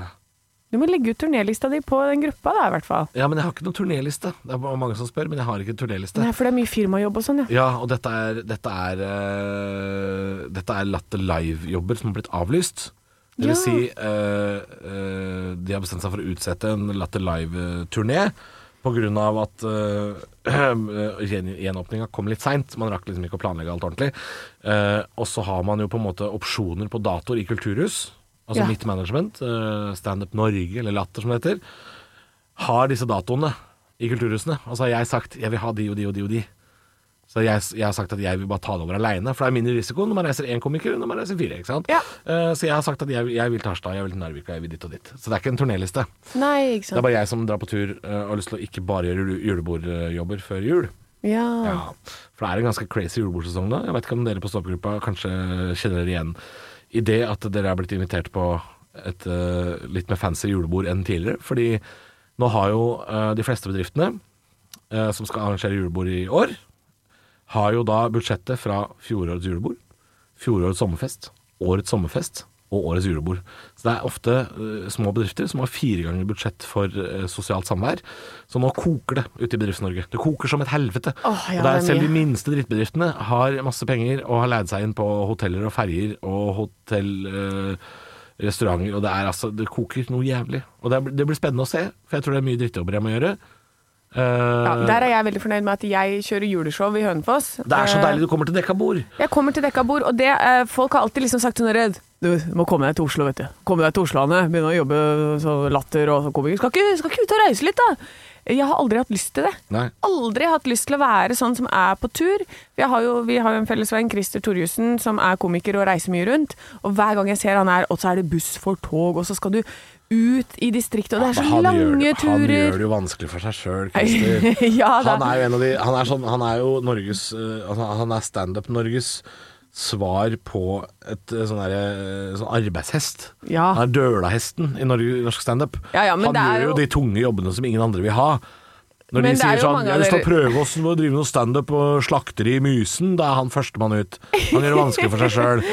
B: Du må legge ut turnélista di på den gruppa, da, i hvert fall.
C: Ja, men jeg har ikke noen turnéliste. Det er mange som spør, men jeg har ikke en turnéliste.
B: Nei, for det er mye firmajobb og sånn, ja.
C: Ja, og dette er Dette er, eh, dette er Latter Live-jobber som har blitt avlyst. Det
B: Ja.
C: vil si eh, eh, De har bestemt seg for å utsette en Latter Live-turné pga. at uh, gjenåpninga kom litt seint. Man rakk liksom ikke å planlegge alt ordentlig. Eh, og så har man jo på en måte opsjoner på datoer i kulturhus. Altså
B: Ja.
C: mitt management, eh, Standup Norge, eller Latter som det heter, har disse datoene i kulturhusene. Og så har jeg sagt jeg vil ha de og de og de og de. Så jeg, jeg har sagt at jeg vil bare ta det over aleine, for det er mindre risiko når man reiser én komiker enn når man reiser fire. ikke sant?
B: Ja.
C: Eh, så jeg har sagt at jeg, jeg vil til Harstad, jeg vil til Narvik og jeg vil dit og dit. Så det er ikke en turnéliste.
B: Nei, ikke
C: Det er
B: sant.
C: bare jeg som drar på tur eh, og har lyst til å ikke bare gjøre jule- julebordjobber før jul.
B: Ja.
C: Ja, For det er en ganske crazy julebordsesong da. Jeg vet ikke om dere på Stoppgruppa kanskje kjenner dere igjen i det at dere er blitt invitert på et eh, litt mer fancy julebord enn tidligere. Fordi nå har jo eh, de fleste bedriftene eh, som skal arrangere julebord i år, har jo da budsjettet fra fjorårets julebord, fjorårets sommerfest, årets sommerfest og årets julebord. Så det er ofte eh, små bedrifter som har fire ganger budsjett for eh, sosialt samvær. Så nå koker det ute i Bedrifts-Norge. Det koker som et helvete.
B: Åh, ja,
C: og det
B: det
C: er
B: er
C: selv
B: mye.
C: de minste drittbedriftene har masse penger og har leid seg inn på hoteller og ferger og hotell... eh, Restauranter, og det er altså Det koker noe jævlig. Og det, er, det blir spennende å se, for jeg tror det er mye drittjobber jeg må gjøre. Eh,
B: Ja, der er jeg veldig fornøyd med at jeg kjører juleshow i Hønefoss.
C: det er så
B: Eh,
C: deilig du kommer til dekka bord.
B: Jeg kommer til dekka bord, og det, eh, folk har alltid liksom sagt sånn redd. Du må komme deg til Oslo, vet du. Komme deg til Oslo, Anne. Begynne å jobbe som latter og som komiker. Skal ikke, skal ikke ut og reise litt, da? Jeg har aldri hatt lyst til det.
C: Nei.
B: Aldri hatt lyst til å være sånn som er på tur. Vi har jo, vi har jo en fellesvenn, Christer Torjussen, som er komiker og reiser mye rundt. Og hver gang jeg ser han her, og så er det buss for tog, og så skal du ut i distriktet, og det er så
C: Men Altså, han
B: lange
C: gjør, det- Han gjør
B: turer.
C: det jo vanskelig for seg sjøl, Christer.
B: Ja
C: Han
B: da.
C: er jo en av de Han er, sånn, han er jo Norges eh, altså, Han er standup-Norges svar på et eh, sånn derre eh, sånn arbeidshest.
B: Ja.
C: Han er dølahesten i Norge, norsk standup.
B: Ja, ja, men
C: han
B: det er
C: gjør jo
B: jo-
C: de tunge jobbene som ingen andre vil ha. Når
B: Men
C: de
B: det er
C: sier
B: jo
C: sånn
B: mange
C: Jeg
B: av
C: har lyst til å
B: dere-
C: prøve oss med å drive noe standup og slaktere i Mysen, da er han førstemann ut. Han gjør det vanskelig for seg sjøl.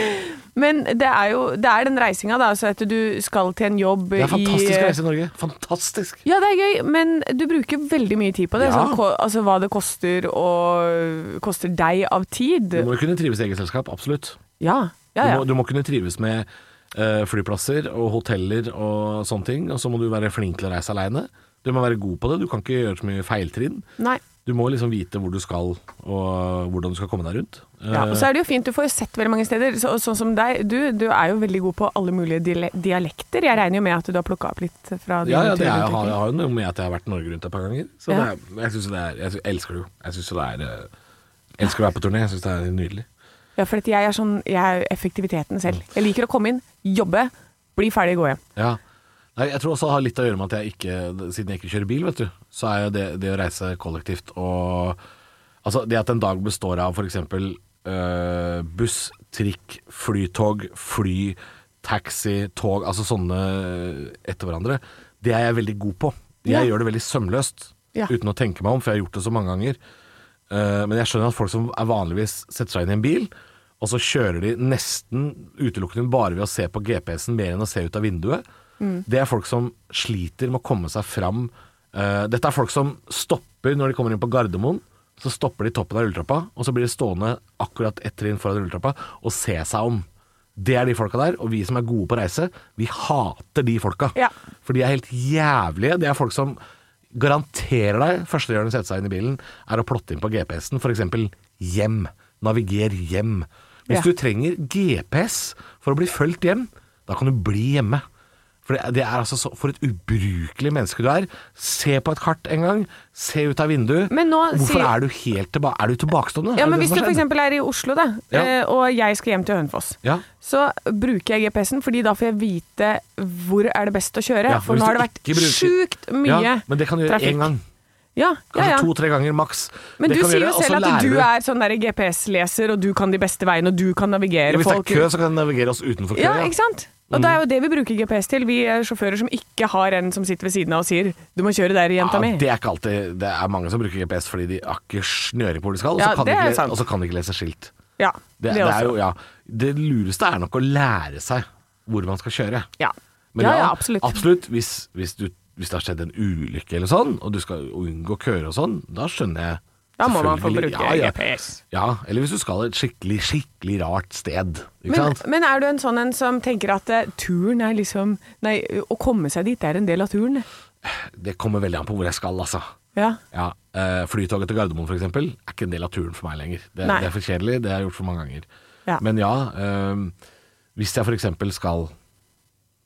B: Men det er jo det er den reisinga, da. Så at du skal til en jobb
C: Det er fantastisk
B: i
C: å reise i Norge. Fantastisk.
B: Ja, det er gøy, men du bruker veldig mye tid på det.
C: Ja.
B: Sånn, ko- altså hva det koster og koster deg av tid.
C: Du må jo kunne trives i eget selskap, absolutt.
B: Ja, ja, ja.
C: Du, må, du må kunne trives med eh, flyplasser og hoteller og sånne ting, og så må du være flink til å reise aleine. Du må være god på det, du kan ikke gjøre så mye feiltrinn.
B: Nei.
C: Du må liksom vite hvor du skal, og hvordan du skal komme deg rundt.
B: Ja,
C: Eh,
B: og så er det jo fint, du får jo sett veldig mange steder. Så, sånn som deg, du, du er jo veldig god på alle mulige diale- dialekter. Jeg regner jo med at du har plukka opp litt fra dine
C: Eh, ja, ja, det er,
B: turer rundt
C: jeg, har,
B: omkring.
C: jeg har jo noe med at jeg har vært Norge rundt et par ganger. Så
B: Ja.
C: det er, jeg synes det er Jeg synes, jeg elsker det jo. Jeg syns det er eh, Elsker å være på turné. Jeg syns det er nydelig.
B: Ja, for at jeg er sånn Jeg er effektiviteten selv. Jeg liker å komme inn, jobbe, bli ferdig, gå hjem.
C: Ja. Nei, jeg tror også det har litt å gjøre med at jeg ikke Siden jeg ikke kjører bil, vet du, så er jo det, det å reise kollektivt og Altså, det at en dag består av f.eks. Øh, buss, trikk, flytog, fly, taxi, tog Altså sånne etter hverandre. Det er jeg veldig god på. Jeg
B: Ja.
C: gjør det veldig sømløst
B: Ja.
C: uten å tenke meg om, for jeg har gjort det så mange ganger. Eh, men jeg skjønner at folk som er vanligvis setter seg inn i en bil, og så kjører de nesten utelukkende bare ved å se på GPS-en mer enn å se ut av vinduet.
B: Mm.
C: Det er folk som sliter med å komme seg fram. Eh, dette er folk som stopper når de kommer inn på Gardermoen. Så stopper de i toppen av rulletrappa, og så blir de stående akkurat ett trinn foran rulletrappa og se seg om. Det er de folka der, og vi som er gode på reise, vi hater de folka.
B: Ja.
C: For de er helt jævlige. Det er folk som garanterer deg, første de gjør når de setter seg inn i bilen, er å plotte inn på GPS-en, f.eks. hjem. Naviger hjem. Hvis
B: Ja.
C: du trenger GPS for å bli fulgt hjem, da kan du bli hjemme. For det, det er altså så, For et ubrukelig menneske du er. Se på et kart en gang. Se ut av vinduet.
B: Men nå
C: Hvorfor
B: sier-
C: er du helt tilbake? Er du tilbakestående?
B: Ja,
C: Er det
B: men
C: det
B: Hvis
C: som
B: du
C: har
B: f.eks.
C: skjedd?
B: er i Oslo, da,
C: Ja.
B: eh, og jeg skal hjem til Hønefoss,
C: Ja.
B: så bruker jeg GPS-en, fordi da får jeg vite hvor er det best å kjøre.
C: Ja,
B: for
C: hvis
B: nå har
C: du
B: det vært
C: ikke bruker-
B: sjukt mye
C: ja, men det kan du gjøre
B: trafikk.
C: én gang.
B: Ja, ja,
C: Kanskje
B: ja.
C: to-tre ganger maks.
B: Men
C: Det
B: du
C: kan
B: sier
C: gjøre,
B: jo
C: og så
B: selv at
C: lærer
B: du er sånn der GPS-leser, og du kan de beste veiene, og du kan navigere
C: Hvis det er
B: folk.
C: kø, så kan den navigere oss utenfor kø.
B: Ja,
C: ja. Mm.
B: ikke sant? Og det er jo det vi bruker GPS til. Vi er sjåfører som ikke har en som sitter ved siden av og sier 'du må kjøre der, jenta mi'.
C: Ja, det er ikke alltid Det er mange som bruker GPS fordi de har ikke snøring på hvor de skal, og så
B: Ja,
C: kan, de
B: det er
C: ikke, le-
B: sant.
C: og så kan de ikke lese skilt.
B: ja,
C: Det, det, er jo, ja, det lureste er nok å lære seg hvor man skal kjøre.
B: ja.
C: Men
B: ja, ja, absolutt.
C: hvis, hvis, du, hvis det har skjedd en ulykke eller sånn, og du skal unngå køer og sånn, da skjønner jeg
B: Da må man få
C: selvfølgelig-
B: bruke
C: ja, ja.
B: GPS.
C: Ja, eller hvis du skal et skikkelig, skikkelig rart sted. Ikke
B: Men,
C: sant?
B: men er du en sånn en som tenker at eh, turen er liksom Nei, å komme seg dit er en del av turen.
C: Det kommer veldig an på hvor jeg skal, altså.
B: Ja.
C: Ja, eh, Flytoget til Gardermoen f.eks. er ikke en del av turen for meg lenger. Det,
B: Nei.
C: det er for kjedelig, det har jeg gjort for mange ganger.
B: Ja.
C: Men ja, eh, hvis jeg f.eks. skal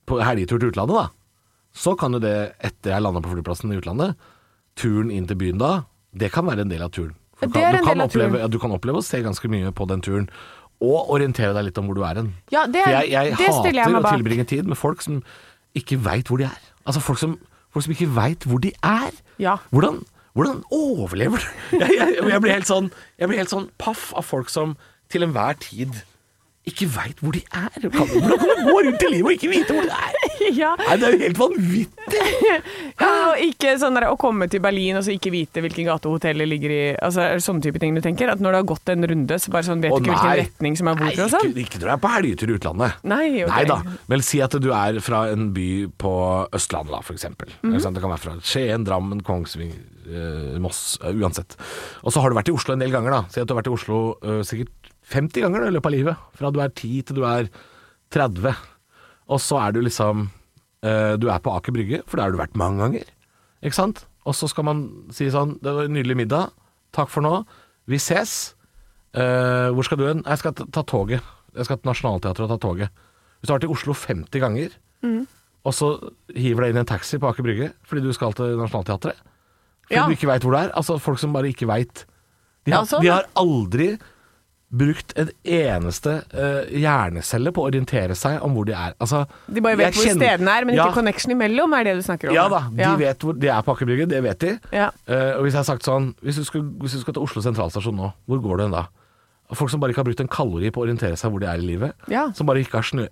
C: på helgetur til utlandet, da, så kan jo det, etter jeg lander på flyplassen i utlandet, turen inn til byen da, det kan være en del av turen. For
B: Det
C: du kan,
B: er en
C: du kan
B: del av
C: oppleve,
B: turen.
C: Ja, du kan oppleve å se ganske mye på den turen, og orientere deg litt om hvor du er hen.
B: Ja, det-
C: For jeg, jeg
B: det stiller jeg
C: hater
B: meg
C: å
B: bak.
C: tilbringe tid med folk som ikke veit hvor de er. Altså folk som, folk som ikke veit hvor de er.
B: Ja.
C: Hvordan, hvordan overlever du? Jeg, jeg, jeg, blir helt sånn, jeg blir helt sånn paff av folk som til enhver tid ikke veit hvor de er. Kan- Hvordan kan du gå rundt i livet og ikke vite hvor du er?
B: ja.
C: Nei, Det er jo helt vanvittig!
B: Og ikke sånn der, å komme til Berlin og så ikke vite hvilken gate hotellet ligger i. Altså, er det sånne type ting du tenker? At når du har gått en runde, så bare sånn vet
C: Å,
B: du ikke hvilken
C: nei.
B: retning som er
C: Nei,
B: hvor og
C: ikke,
B: sånn?
C: ikke når du er på helgetur i utlandet.
B: Nei, ok.
C: da. Men si at du er fra en by på Østlandet, da, for eksempel.
B: Mhm.
C: Ikke sant? Det kan være fra Skien, Drammen, Kongsvinger, eh, Moss, eh, uansett. Og så har du vært i Oslo en del ganger, da. Si at du har vært i Oslo eh, sikkert 50 ganger da, i løpet av livet. Fra du er 10 til du er 30. Og så er du liksom eh, Du er på Aker Brygge, for der har du vært mange ganger. Ikke sant? Og så skal man si sånn Det var en nydelig middag. Takk for nå. Vi ses. Eh, hvor skal du hen? Jeg skal ta, ta toget. Jeg skal til Nationaltheatret og ta toget. Hvis du har vært i Oslo 50 ganger,
B: Mm.
C: og så hiver deg inn i en taxi på Aker Brygge fordi du skal til Nationaltheatret Fordi
B: Ja.
C: du ikke veit hvor det er. Altså Folk som bare ikke veit. De,
B: Ja,
C: har-
B: sånn,
C: de
B: ja.
C: har aldri brukt en eneste eh, hjernecelle på å orientere seg om hvor de er. Altså,
B: De bare vet
C: jeg
B: hvor
C: kjenner-
B: stedene er, men
C: Ja.
B: ikke connection imellom, er det du snakker om?
C: Ja da, de
B: Ja.
C: vet hvor de er på Aker Brygge, det vet de.
B: Ja.
C: Eh, og hvis jeg har sagt sånn Hvis du skal, hvis du skal til Oslo sentralstasjon nå, hvor går du hen da? Og Folk som bare ikke har brukt en kalori på å orientere seg hvor de er i livet.
B: Ja.
C: Som bare ikke har snø...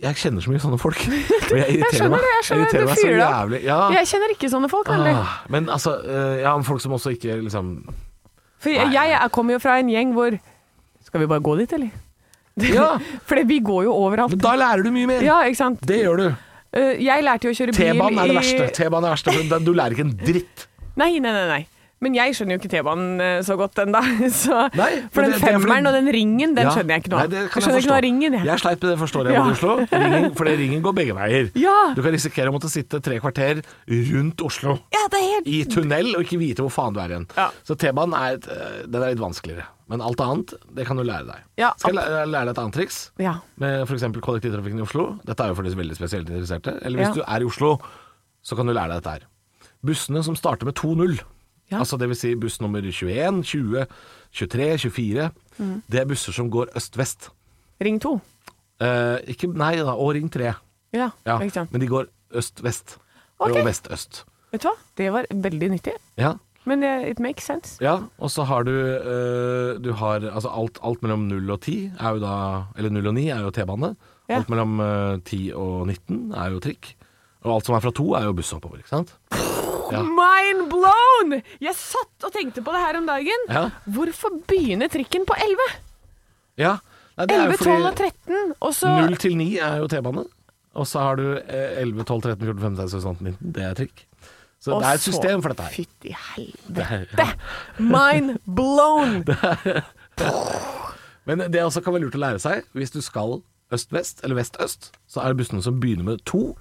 C: Jeg kjenner så mye sånne folk. Og jeg irriterer
B: skjønner
C: meg.
B: det, jeg skjønner det, du
C: irriterer meg så
B: fyrer deg
C: jævlig. Ja.
B: Jeg kjenner ikke sånne folk, nemlig.
C: Ah, men altså eh, Ja, men folk som også ikke liksom
B: For jeg, jeg er- kommer jo fra en gjeng hvor Skal vi bare gå dit, eller?
C: Ja,
B: For vi går jo overalt.
C: men da lærer du mye mer.
B: Ja, ikke sant.
C: Det gjør du.
B: Eh, Jeg lærte jo å kjøre bil
C: T-banen er det
B: i-
C: verste. T-banen er det verste. for Du lærer ikke en dritt.
B: Nei, nei, nei, nei. Men jeg skjønner jo ikke T-banen eh, så godt ennå.
C: Nei,
B: For
C: men
B: den
C: det- det er fordi-
B: femmeren og den ringen, den skjønner jeg ikke noe
C: Nei,
B: av.
C: det
B: Jeg
C: kan
B: skjønner ikke noe av
C: forstå.
B: ringen, jeg.
C: Jeg sleit med det, forstår jeg,
B: Ja.
C: hvor du slo. Ringen, fordi ringen går begge veier.
B: Ja.
C: Du kan risikere å måtte sitte tre kvarter rundt Oslo
B: Ja, det er helt
C: i tunnel og ikke vite hvor faen du er igjen.
B: Ja.
C: Så T-banen er, et, øh, den er litt vanskeligere. Men alt annet, det kan du lære deg.
B: Ja,
C: Skal jeg lære, lære deg et annet triks?
B: Ja.
C: Med f.eks. kollektivtrafikken i Oslo. Dette er jo for de veldig spesielt interesserte. Eller
B: Ja.
C: hvis du er i Oslo, så kan du lære deg dette her. Bussene som starter med 2-0,
B: Ja.
C: altså dvs. Si buss nummer 21, 20, 23, 24,
B: Mm.
C: det er busser som går øst-vest.
B: Ring to.
C: Eh, ikke, nei da, og Ring 3.
B: Ja,
C: Ja.
B: ikke sant.
C: Men de går øst-vest.
B: Ok.
C: Og vest-øst.
B: Vet du hva? Det var veldig nyttig.
C: Ja.
B: Men eh, it makes sense.
C: ja. Og så har du, eh, du har, altså alt, alt mellom 0 og 10 er jo da Eller 0 og 9 er jo T-bane.
B: Ja.
C: Alt mellom eh, 10 og 19 er jo trikk. Og alt som er fra 2 er jo buss oppover, ikke sant? Ja.
B: Mind blown! Jeg satt og tenkte på det her om dagen.
C: Ja.
B: Hvorfor begynner trikken på 11?
C: Ja. Nei, det er
B: 11,
C: jo
B: 12 og
C: fordi
B: 13, og så
C: 0 til 9 er jo T-bane. Og så har du eh, 11, 12, 13, 14, 15, 16, 17, 19. Det er trikk. Så
B: og
C: det er et
B: så-
C: system for dette her.
B: Fytti helvete! Mind blown!
C: Men det også kan være lurt å lære seg Hvis du skal øst-vest eller vest-øst Så er det bussene som begynner med to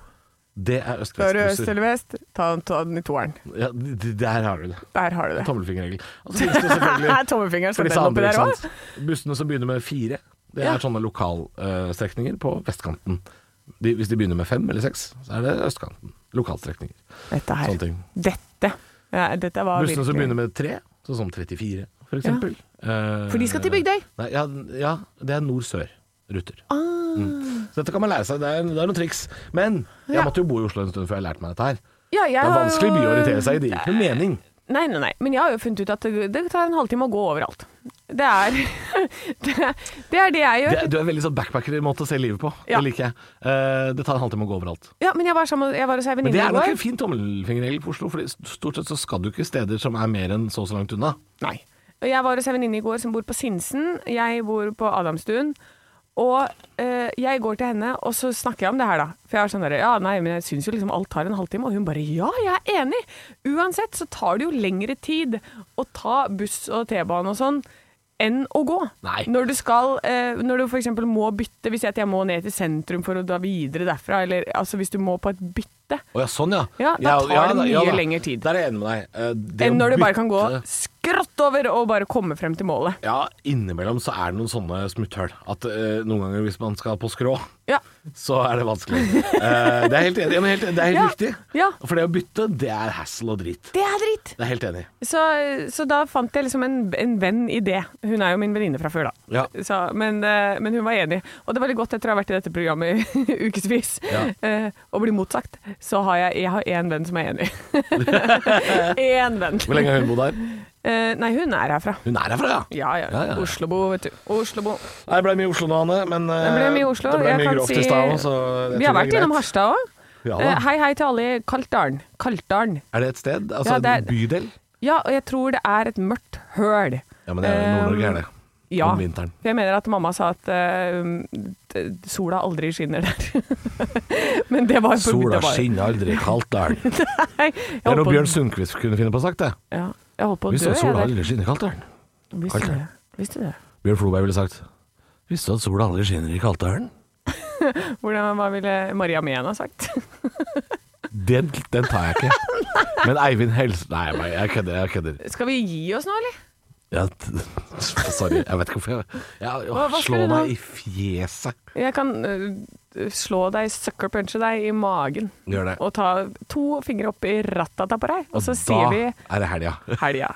C: Det
B: Hører du
C: er
B: øst
C: øst-vest-busser
B: eller vest, ta, ta den i toeren.
C: ja, d- d- Der har du det
B: Der har du det.
C: Tommelfingerregel Og så finnes det selvfølgelig
B: Tommelfingeren
C: for
B: skal
C: disse
B: den oppi
C: andre,
B: der
C: ikke
B: òg.
C: sant Bussene som begynner med fire Det
B: Ja.
C: er sånne lokalstrekninger på vestkanten de, Hvis de begynner med fem eller seks Så er det østkanten Lokalstrekninger
B: Dette
C: Sånne
B: her.
C: ting
B: Dette. Ja, dette var
C: Bussene som
B: virkelig-
C: begynner med tre Sånn som 34 for eksempel Eh,
B: For de skal til Bygdøy.
C: Nei, ja, ja, det er nord-sør-ruter.
B: Ah.
C: Mm. Så dette kan man lære seg. Det er, det er noen triks. Men jeg
B: Ja.
C: måtte jo bo i Oslo en stund før jeg lærte meg dette her.
B: Ja, jeg
C: Det er
B: har
C: vanskelig by å
B: jo-
C: orientere seg i. Det gir ikke noe mening.
B: Nei, nei, nei. Men jeg har jo funnet ut at det, det tar en halvtime å gå overalt. Det er det, det er det jeg
C: Det,
B: gjør.
C: du er veldig sånn backpacker-måte å se livet på.
B: Ja.
C: Det liker jeg. Eh, det tar en halvtime å gå overalt.
B: Ja, men jeg var, sammen, jeg var hos ei
C: Men det
B: venninne i
C: er nok en
B: går.
C: fin tommelfingerregel på Oslo, for stort sett så skal du ikke steder som er mer enn så og så langt unna.
B: Nei. Og Jeg var hos ei venninne i går som bor på Sinsen. Jeg bor på Adamstuen. Og eh, jeg går til henne, og så snakker jeg om det her, da. For jeg er sånn der, ja, nei, men jeg syns jo liksom alt tar en halvtime. Og hun bare ja, jeg er enig. Uansett så tar det jo lengre tid å ta buss og T-bane og sånn enn å gå.
C: Nei.
B: Når du skal, eh, når du f.eks. må bytte, hvis jeg, at jeg må ned til sentrum for å dra videre derfra, eller altså hvis du må på et bytte,
C: Å ja, sånn ja.
B: Ja, da tar det
C: da-
B: mye
C: da.
B: lengre tid.
C: Der er jeg enig med deg. Eh, det
B: enn
C: å
B: når du bare kan gå
C: bytte-
B: skrått over og bare komme frem til målet.
C: Ja, innimellom så er det noen sånne smutthull. At eh, noen ganger hvis man skal på skrå,
B: Ja.
C: så er det vanskelig. Eh, det er helt enig. Ja, men helt, det er helt
B: Ja,
C: riktig.
B: ja.
C: For det å bytte, det er hassle og drit.
B: Det er dritt!
C: Det er helt enig.
B: Så, så da fant jeg liksom en, en venn i det. Hun er jo min venninne fra før, da.
C: Ja.
B: Så, men, eh, men hun var enig. Og det var litt godt etter å ha vært i dette programmet i ukevis
C: Ja.
B: eh, og bli motsagt. Så har jeg, jeg har én venn som er enig. Én venn.
C: Hvor lenge har hun bodd her?
B: Eh, nei, hun er herfra.
C: Hun er herfra, ja.
B: Ja, ja.
C: Ja, ja, ja.
B: Oslobo, vet du. Oslobo.
C: Nei, Det ble mye Oslo nå, Anne. Men eh,
B: Det ble mye Oslo.
C: det ble
B: Jeg
C: mye
B: kan
C: grovt
B: si-
C: i stad òg, så
B: Vi
C: jeg tror
B: har
C: det er
B: vært innom
C: greit.
B: Harstad òg.
C: Ja,
B: Eh,
C: da.
B: hei, hei til alle i Kaltdalen. Kaltdalen.
C: Er det et sted? Altså
B: Ja, det er-
C: en bydel?
B: Ja, og jeg tror det er et mørkt høl.
C: Ja, men det er
B: Eh,
C: Nord-Norge, er det.
B: Ja.
C: Om vinteren.
B: For jeg mener at mamma sa at eh, d- sola aldri skinner der. Men det var for
C: Sola
B: mye bare-
C: skinner aldri i Kaltdalen. Det
B: Nei, jeg
C: er
B: holdt
C: noe
B: på,
C: Bjørn Sundquist kunne finne på å sagt, det.
B: ja, jeg holdt på å dø,
C: Visste at sola
B: jeg. der.
C: aldri skinner i Kaltdalen.
B: Visste du
C: Kaldt.
B: det? Visste du det?
C: Bjørn Floberg ville sagt Visste du at sola aldri skinner i Kaltdalen?
B: Hvordan, hva ville Maria Mehn ha sagt?
C: Den, den tar jeg ikke. Men Eivind Helse... Nei, jeg bare- jeg kødder. Jeg kødder.
B: Skal vi gi oss nå, eller?
C: Ja, t- sorry, jeg vet ikke hvorfor jeg, jeg
B: Hva- hva skal
C: Slå
B: du nå?
C: meg i fjeset.
B: Jeg kan eh, slå deg, sucker punche deg i magen.
C: Gjør det.
B: Og ta to fingre opp i rattata på deg, og så
C: da
B: sier vi
C: er det helga.
B: helga.